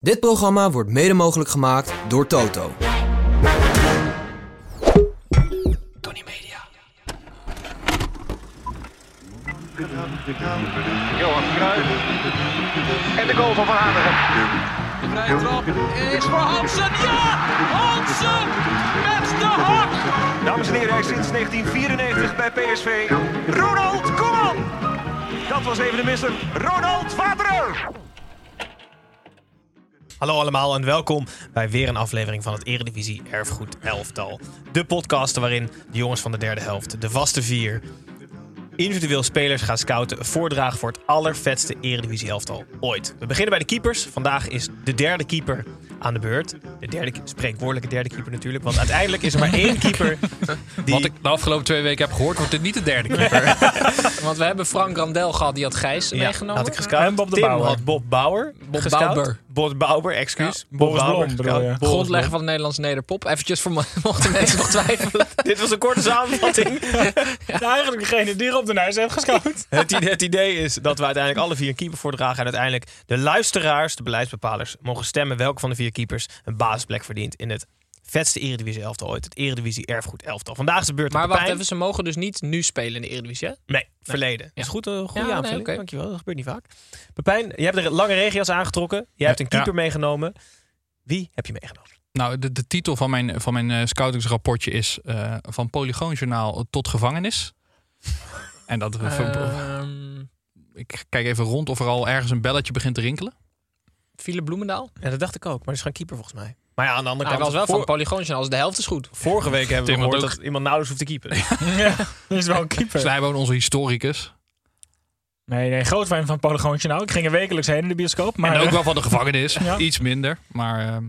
Dit programma wordt mede mogelijk gemaakt door Toto. Tony Media. Johan Cruijff. En de goal van Van Hanegem. De vrije trap is voor Hansen. Ja! Hansen met de hak! Dames en heren, hij is sinds 1994 bij PSV. Ronald Koeman. Dat was even de misser. Ronald Vader. Hallo allemaal en welkom bij weer een aflevering van het Eredivisie Erfgoed Elftal. De podcast waarin de jongens van de derde helft, de vaste vier, individueel spelers gaan scouten, voordragen voor het allervetste Eredivisie Elftal ooit. We beginnen bij de keepers. Vandaag is de derde keeper aan de beurt. De derde, ke- spreekwoordelijke derde keeper natuurlijk, want uiteindelijk is er maar één keeper die... Wat ik de afgelopen twee weken heb gehoord, wordt dit niet de derde keeper. Want we hebben Frank Randel gehad, die had Gijs Ja, meegenomen. Had ik gescout. En Bob de Tim Bouwer. had Bob Bauer. Bob gescout. Bouwer. Bob Bauer, excuus. Ja, Boris Bauer Blom gescout. bedoel je. Boris Grondlegger Blom. van de Nederlandse nederpop. Eventjes voor mo- mochten mensen nog twijfelen. Dit was een korte samenvatting. Nou, eigenlijk degene die op de neus heeft gescout. Het idee, het idee is dat we uiteindelijk alle vier een keeper voordragen. En uiteindelijk de luisteraars, de beleidsbepalers, mogen stemmen welke van de vier keepers een basisplek verdient in het vetste Eredivisie elftal ooit. Het Eredivisie erfgoed elftal. Vandaag is de beurt aan Maar wacht Pepijn. even, ze mogen dus niet nu spelen in de Eredivisie, hè? Nee, verleden. Is goed, een goede Ja, nee, aanvulling. oké. Dankjewel, dat gebeurt niet vaak. Pepijn, jij hebt een lange regenjas aangetrokken. Jij hebt een keeper meegenomen. Wie heb je meegenomen? Nou, de, de titel van mijn, van mijn eh, scoutingsrapportje is eh, Van Polygoonjournaal tot gevangenis. En dat. we- Eh. Ehm, ik kijk even rond of er al ergens een belletje begint te rinkelen. Philip Bloemendaal. Ja, dat dacht ik ook, maar dat is geen keeper volgens mij. Maar ja, aan de andere Hij kant... was wel voor- van Polygoon als de helft is goed. Vorige week hebben we Tim had gehoord ook- dat iemand nauwelijks hoeft te keeper. Ja, dat is wel een keeper. Slijboon, onze historicus. Nee, nee, groot fan van Polygoontje nou. Ik ging er wekelijks heen in de bioscoop. Maar En ook wel van de gevangenis. Ja. Iets minder. Maar ehm,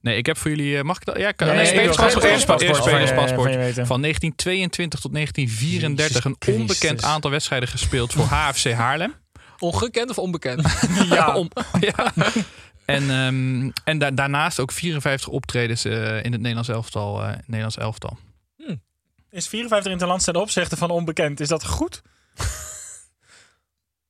nee, ik heb voor jullie. eh, mag ik dat? Ja, kan, Nee, nee, ik wil spelerspaspoort. geen spelerspaspoort Eerst spelerspaspoort. van je weten. Van 1922 tot 1934 Jezus een onbekend Christus. aantal wedstrijden gespeeld voor HFC Haarlem. Ongekend of onbekend? ja, Om- ja. En, ehm, en da- daarnaast ook 54 optredens eh, in het Nederlands elftal. eh, Nederlands elftal. is 54 in het land ten opzichte van onbekend. Is dat goed?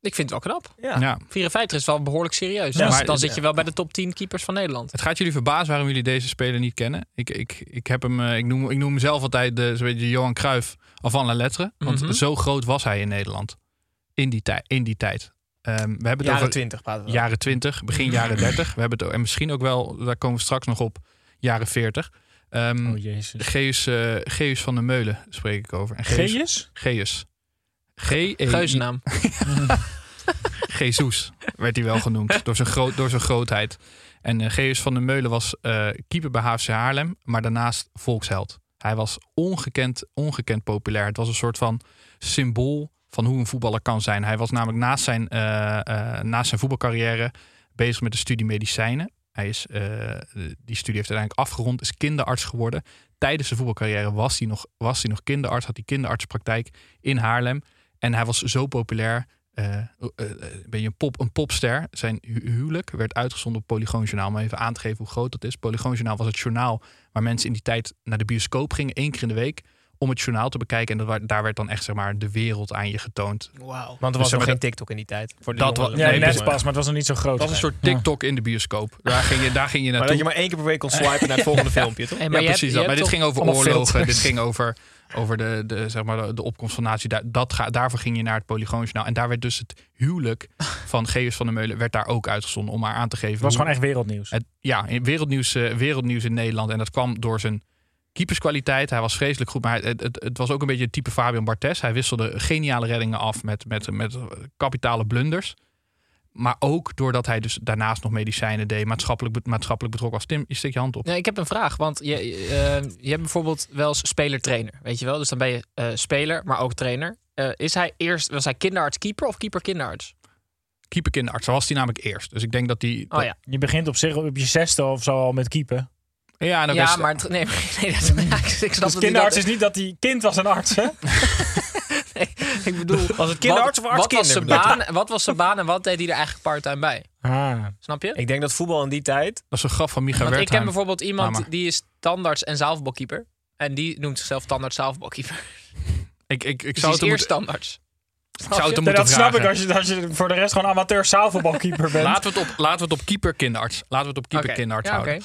Ik vind het wel knap. Ja. Nou, Ja. 54 is wel behoorlijk serieus. Ja, Dus maar- dan zit je wel bij de top 10 keepers van Nederland. Het gaat jullie verbazen waarom jullie deze speler niet kennen. Ik, ik, ik, heb hem, eh, ik, noem, ik noem hem zelf altijd de, zo'n beetje de Johan Cruijff van la lettre. Want Mhm. zo groot was hij in Nederland. In die, tij- in die tijd. Ehm, we hebben het Jaren over 20 praten we. jaren 20, begin jaren 30. We hebben het, o- en misschien ook wel, daar komen we straks nog op, jaren 40. Ehm Oh, Oh, jezus. Geus, eh, Geus van de Meulen spreek ik over. En Geus, Geus? Geus. G E Geuzennaam. Jesus werd hij wel genoemd door zijn, groot, door zijn grootheid. En eh Geus van der Meulen was eh, keeper bij HFC Haarlem, maar daarnaast volksheld. Hij was ongekend, ongekend populair. Het was een soort van symbool van hoe een voetballer kan zijn. Hij was namelijk naast zijn, eh, eh, naast zijn voetbalcarrière bezig met de studie medicijnen. Hij is, eh, die studie heeft uiteindelijk afgerond, is kinderarts geworden. Tijdens zijn voetbalcarrière was hij nog, was hij nog kinderarts, had hij kinderartspraktijk in Haarlem. En hij was zo populair eh, eh, eh, ben je een, pop, een popster. Zijn hu- huwelijk werd uitgezonden op Polygoon Journaal. Om even aan te geven hoe groot dat is. Polygoon Journaal was het journaal waar mensen in die tijd naar de bioscoop gingen. één keer in de week om het journaal te bekijken. En dat, wa- daar werd dan echt zeg maar, de wereld aan je getoond. Wauw. Want er was Dus nog hebben geen TikTok in die tijd. Voor de Dat jongeren. wa- Ja, Nee, net dus- pas, maar het was nog niet zo groot. Het was een soort Ja. Tiktok in de bioscoop. Daar ging je, daar ging je Maar dat naartoe. je maar één keer per week kon swipen naar het volgende filmpje, toch? Hey, ja, je hebt- precies. je dat. hebt Maar dit toch- ging over allemaal oorlogen. Dit filters. ging over, over de, de, zeg maar, de, de opkomst van nazi. Daar, dat ga, daarvoor ging je naar het Polygoonjournaal. En daar werd dus het huwelijk van Geus van der Meulen werd daar ook uitgezonden. Om maar aan te geven Het was hoe- gewoon echt wereldnieuws. Het, ja, in wereldnieuws, eh, wereldnieuws in Nederland. En dat kwam door zijn keeperskwaliteit. Hij was vreselijk goed, maar hij- het, het, het was ook een beetje het type Fabian Barthes. Hij wisselde geniale reddingen af met, met, met eh, kapitale blunders. Maar ook doordat hij dus daarnaast nog medicijnen deed, maatschappelijk, be- maatschappelijk betrokken was. Tim, je steekt je hand op. Nee, ik heb een vraag, want je, eh, je hebt bijvoorbeeld wel eens speler-trainer, weet je wel? Dus dan ben je eh, speler, maar ook trainer. Eh, is hij eerst, was hij kinderarts-keeper of keeper-kinderarts? Keeper kinderarts, zo was hij namelijk eerst. Dus ik denk dat die... Oh ja, Je begint op zich op je zesde of zo al met keeper. Ja, en ook ja best- maar het- nee, maar- nee, dat, ja, ik, ik snap Dus dat kinderarts hij is niet dat hij kind was een arts, hè? dat- Ik bedoel, Was het kinderarts wat, of wat was, arts zijn baan, wat was zijn baan en wat deed hij er eigenlijk part-time bij? Ah. Snap je? Ik denk dat voetbal in die tijd... dat is een graf van Micha Want ik ken Wertheim. bijvoorbeeld iemand Laat maar. die is tandarts en zaalvoetbalkeeper. En die noemt zichzelf tandarts zaalvoetbalkeeper. Ik, ik, ik Dus die zou het is eerst hem moeten- tandarts. Ik zou het hem Nee, moeten dat snap vragen. ik als je, als je voor de rest gewoon amateur zaalvoetbalkeeper bent. Laten we, het op, laten we het op keeper kinderarts. Laten we het op keeper Oké. kinderarts Ja, houden. oké.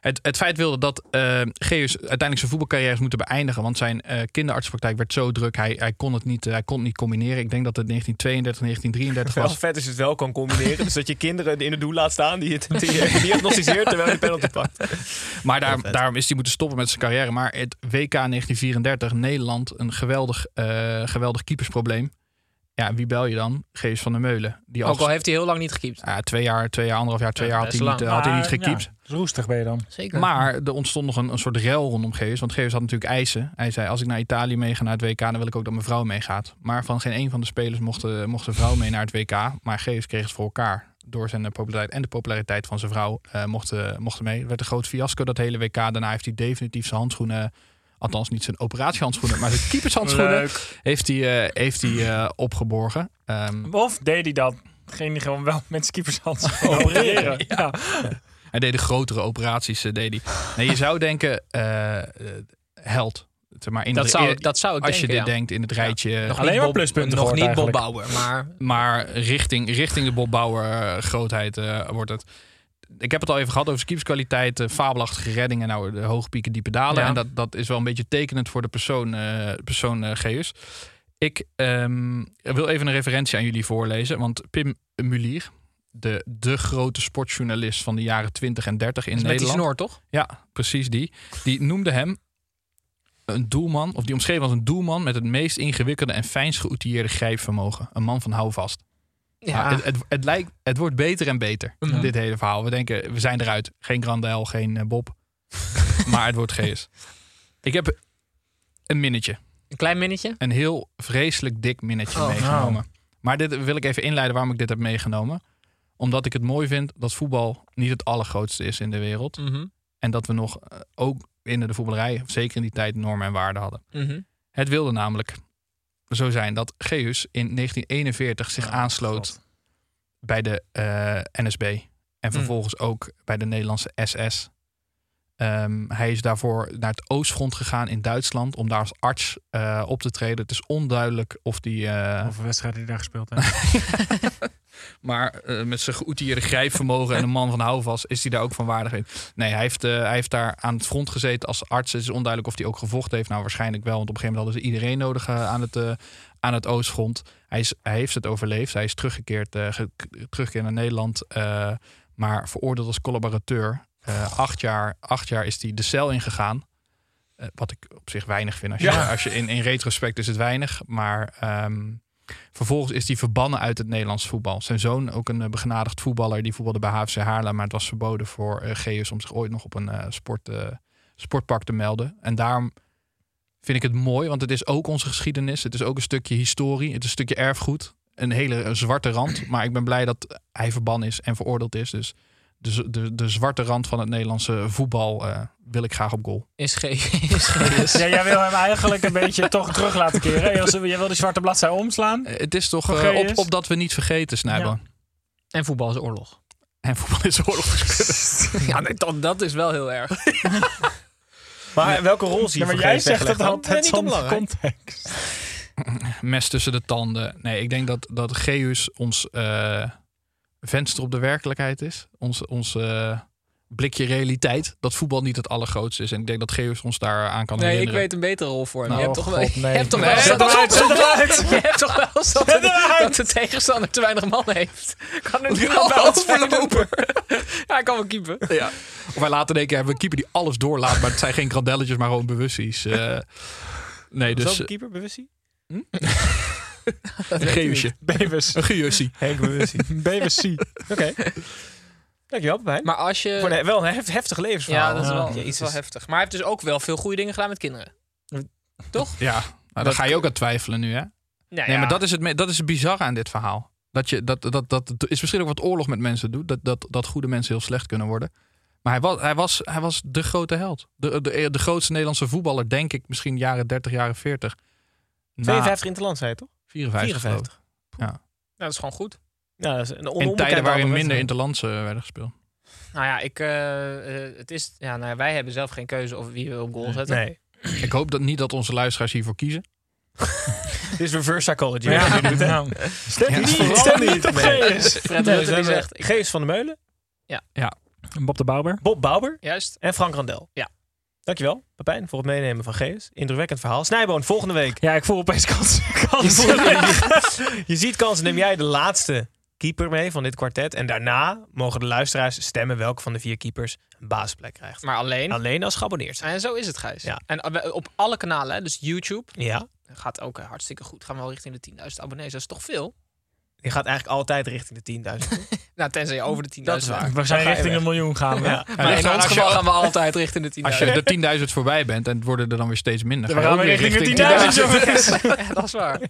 Het, het feit wilde dat eh Geus uiteindelijk zijn voetbalcarrière heeft moeten beëindigen. Want zijn eh, kinderartspraktijk werd zo druk. Hij, hij, kon het niet, eh, hij kon het niet combineren. Ik denk dat het 1932, 1933 Wel was. vet is het wel kan combineren. dus dat je kinderen in het doel laat staan die het die je diagnosticeert terwijl je de penalty pakt. Maar daar- daarom is hij moeten stoppen met zijn carrière. Maar het WK 1934, Nederland, een geweldig, eh, geweldig keepersprobleem. Ja, wie bel je dan? Geus van der Meulen. Die Ook al heeft hij heel lang niet gekiept. ja, twee jaar, twee jaar, anderhalf jaar, twee Ja, jaar had best hij, niet, lang. eh, had hij niet Maar, gekiept. ja, roestig ben je dan. Zeker. Maar er ontstond nog een, een soort rel rondom Geus. Want Geus had natuurlijk eisen. Hij zei, als ik naar Italië meega naar het WK, dan wil ik ook dat mijn vrouw meegaat. Maar van geen een van de spelers mocht, eh, mocht zijn vrouw mee naar het WK. Maar Geus kreeg het voor elkaar. Door zijn eh, populariteit en de populariteit van zijn vrouw eh mochten mochten mee. Het werd een groot fiasco dat hele WK. Daarna heeft hij definitief zijn handschoenen... Althans, niet zijn operatiehandschoenen, maar zijn keepershandschoenen heeft hij, eh, heeft hij eh, opgeborgen. Ehm, Of deed hij dat? Ging hij gewoon wel met Oh, keepershand opereren? Ja. Hij deed de grotere operaties. eh, deed hij. Nee, je zou denken, eh, eh, held. Zeg Maar in dat, het- zou, eer- dat zou ik als je denken, dit ja. denkt in het rijtje. Nog Alleen niet maar Bob- pluspunten Nog gehoord niet Bob eigenlijk. Bauer, maar Maar richting, richting de Bob Bauer eh, grootheid eh, wordt het. Ik heb het al even gehad over skiepskwaliteit, eh, fabelachtige reddingen, nou, de hoge pieken, diepe dalen. Ja. En dat, dat is wel een beetje tekenend voor de persoon, eh persoon eh, Geus. Ik ehm, wil even een referentie aan jullie voorlezen. Want Pim Mulier, de, de grote sportjournalist van de jaren 20 en 30 in is met die Nederland. snor toch? Ja, precies die. Die noemde hem een doelman, of die omschreven als een doelman met het meest ingewikkelde en fijnst geoutilleerde grijpvermogen. Een man van houvast. Ja. Nou, het, het, het, lijkt, het wordt beter en beter, Ja. dit hele verhaal. We denken, we zijn eruit. Geen Grandel, geen eh, Bob. maar het wordt Geus. Ik heb een minnetje. Een klein minnetje. Een heel vreselijk dik minnetje Oh, meegenomen. Maar dit wil ik even inleiden waarom ik dit heb meegenomen. Omdat ik het mooi vind dat voetbal niet het allergrootste is in de wereld. Mhm. En dat we nog eh, ook binnen de voetballerij, zeker in die tijd, normen en waarden hadden. Mhm. Het wilde namelijk zo zijn dat Geus in 1941 zich aansloot bij de eh, NSB. En vervolgens ook bij de Nederlandse SS. Ehm, hij is daarvoor naar het Oostfront gegaan in Duitsland om daar als arts eh, op te treden. Het is onduidelijk of die. eh, Of een wedstrijd die hij daar gespeeld heeft. maar eh, met zijn geoutilleerde grijpvermogen en een man van houvast is hij daar ook van waardig in. Nee, hij heeft, eh, hij heeft daar aan het front gezeten als arts. Het is onduidelijk of hij ook gevochten heeft. Nou, waarschijnlijk wel, want op een gegeven moment hadden ze iedereen nodig eh, aan, het, eh, aan het Oostfront. Hij, is, hij heeft het overleefd. Hij is teruggekeerd, eh, ge- teruggekeerd naar Nederland, eh, maar veroordeeld als collaborateur. Eh, acht, jaar, acht jaar is hij de cel ingegaan. Eh, wat ik op zich weinig vind. Als je, als je in, in retrospect is het weinig, maar... ehm, Vervolgens is hij verbannen uit het Nederlands voetbal. Zijn zoon, ook een eh, begenadigd voetballer, die voetbalde bij HFC Haarlem. Maar het was verboden voor eh Geus om zich ooit nog op een eh, sport, eh, sportpark te melden. En daarom vind ik het mooi, want het is ook onze geschiedenis. Het is ook een stukje historie. Het is een stukje erfgoed. Een hele eh, zwarte rand. Maar ik ben blij dat hij verbannen is en veroordeeld is. Dus de, z- de, de zwarte rand van het Nederlandse voetbal eh, wil ik graag op goal. Is ge- is ge- ja, jij wil hem eigenlijk een beetje toch terug laten keren. Jij wil- Jij wil die zwarte bladzij omslaan. Eh, het is toch Van eh, op, Geus? op dat we niet vergeten, Snijboon. En voetbal is oorlog. En voetbal is oorlog. Ja, nee, dan, dat is wel heel erg. Maar welke rol zie Ja, je maar voor jij Geus zegt weggelegd dat dan? Nee, altijd niet zonder onbelangrijk. context. mes tussen de tanden. Nee, ik denk dat, dat Geus ons eh, venster op de werkelijkheid is. Ons, ons eh, blikje realiteit. Dat voetbal niet het allergrootste is. En ik denk dat Geus ons daar aan kan Nee, ik herinneren. weet een betere rol voor hem. Nou, je hebt toch wel... God, nee. Je hebt toch Nee, wel... eens zet dat- hem uit, zet hem uit. Je hebt toch wel eens dat, dat de tegenstander te weinig man heeft. Kan er nu al wel overlopen. Ja, hij kan wel keepen. Ja. Of wij later denken, hebben we een keeper die alles doorlaat. Maar het zijn geen krandelletjes, maar gewoon bewusties. Eh, nee, dus eh, Zo'n keeper, bewustie? een Geusje. Babys. Een Geusje. Henk bewustie. BBC. Oké. Dankjewel, Pepijn. Maar als je... Voor een, wel een hef- heftig levensverhaal. Ah. Ja, dat is wel, Ja, dat is wel Oh, Jezus. heftig. Maar hij heeft dus ook wel veel goede dingen gedaan met kinderen. Ja, maar daar ga je ook aan twijfelen nu, hè? Nou, Nee, ja. maar dat is het, me- dat is het bizarre aan dit verhaal. Dat, je, dat, dat, dat is misschien ook wat oorlog met mensen doet. Dat, dat, dat goede mensen heel slecht kunnen worden. Maar hij was, hij was, hij was de grote held. De, de, de grootste Nederlandse voetballer, denk ik, misschien jaren 30, jaren 40. Na 52 in het land, zei je toch? 54. geloof ik. Nou, dat is gewoon goed. Ja, dat is een on- In tijden onbekende waarin andere minder eh. wedstrijd. interlandse werden gespeeld. Nou ja, ik, eh, eh, het is, ja nou ja, wij hebben zelf geen keuze of wie we op goal zetten. Nee. Ik hoop dat niet dat onze luisteraars hiervoor kiezen. Dit is reverse psychology. Ja, ja. Stem niet, stem niet op Gees. Fred Rutte Nee, we die hebben zegt... ik- Gees van de Meulen, Bob de Bouwer. Bob Bauber Juist. en Frank Randel. Ja. Dankjewel, Pepijn, voor het meenemen van Gees. Indrukwekkend verhaal. Snijboon, volgende week. Ja, ik voel opeens kans. kans. Je ziet kansen, neem jij de laatste keeper mee van dit kwartet. En daarna mogen de luisteraars stemmen welke van de vier keepers een basisplek krijgt. Maar alleen. Alleen als geabonneerd zijn. En zo is het, Gijs. Ja. En eh, op alle kanalen, hè, dus YouTube, Ja, gaat ook eh, hartstikke goed. Gaan we wel richting de 10.000 abonnees. Dat is toch veel? die gaat eigenlijk altijd richting de 10.000. Nou, tenzij je over de 10.000 Dat is waar. gaat. We zijn richting een miljoen gaan. we. Ja. Ja, Maar in maar ons als geval je- gaan we altijd richting de 10.000. Als je de 10.000 voorbij bent en het worden er dan weer steeds minder. We ga je gaan ook weer weer richting richting de 10.000 jongens. Ja, dat is waar.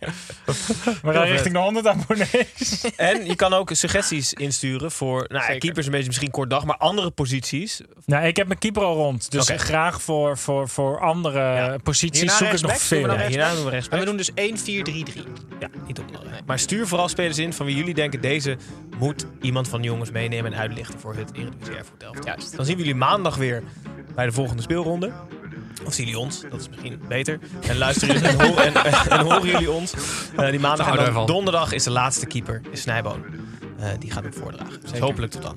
We gaan richting de 100 abonnees. En je kan ook suggesties insturen voor nou, ja, Zeker. keepers, een beetje misschien kort dag, maar andere posities. Nou, ik heb mijn keeper al rond. Dus Oké. graag voor, voor, voor andere posities Hierna zoek ik nog rechtsback, doen veel. we dan rechtsback? Ja, hierna doen we rechtsback. En we doen dus 1-4-3-3. Ja, niet onbelangrijk. Maar stuur vooral spelers in van wie jullie denken deze moet iemand van de jongens meenemen en uitlichten voor het Eredivisie Erfgoed Elftal. Juist. Dan zien we jullie maandag weer bij de volgende speelronde. Of zien jullie ons, dat is misschien beter. En luisteren jullie en, ho- en, en, en horen jullie ons eh, die maandag. houden En we dan van. donderdag is de laatste keeper, is Snijboon. Eh, die gaat hem voordragen. Dus hopelijk tot dan.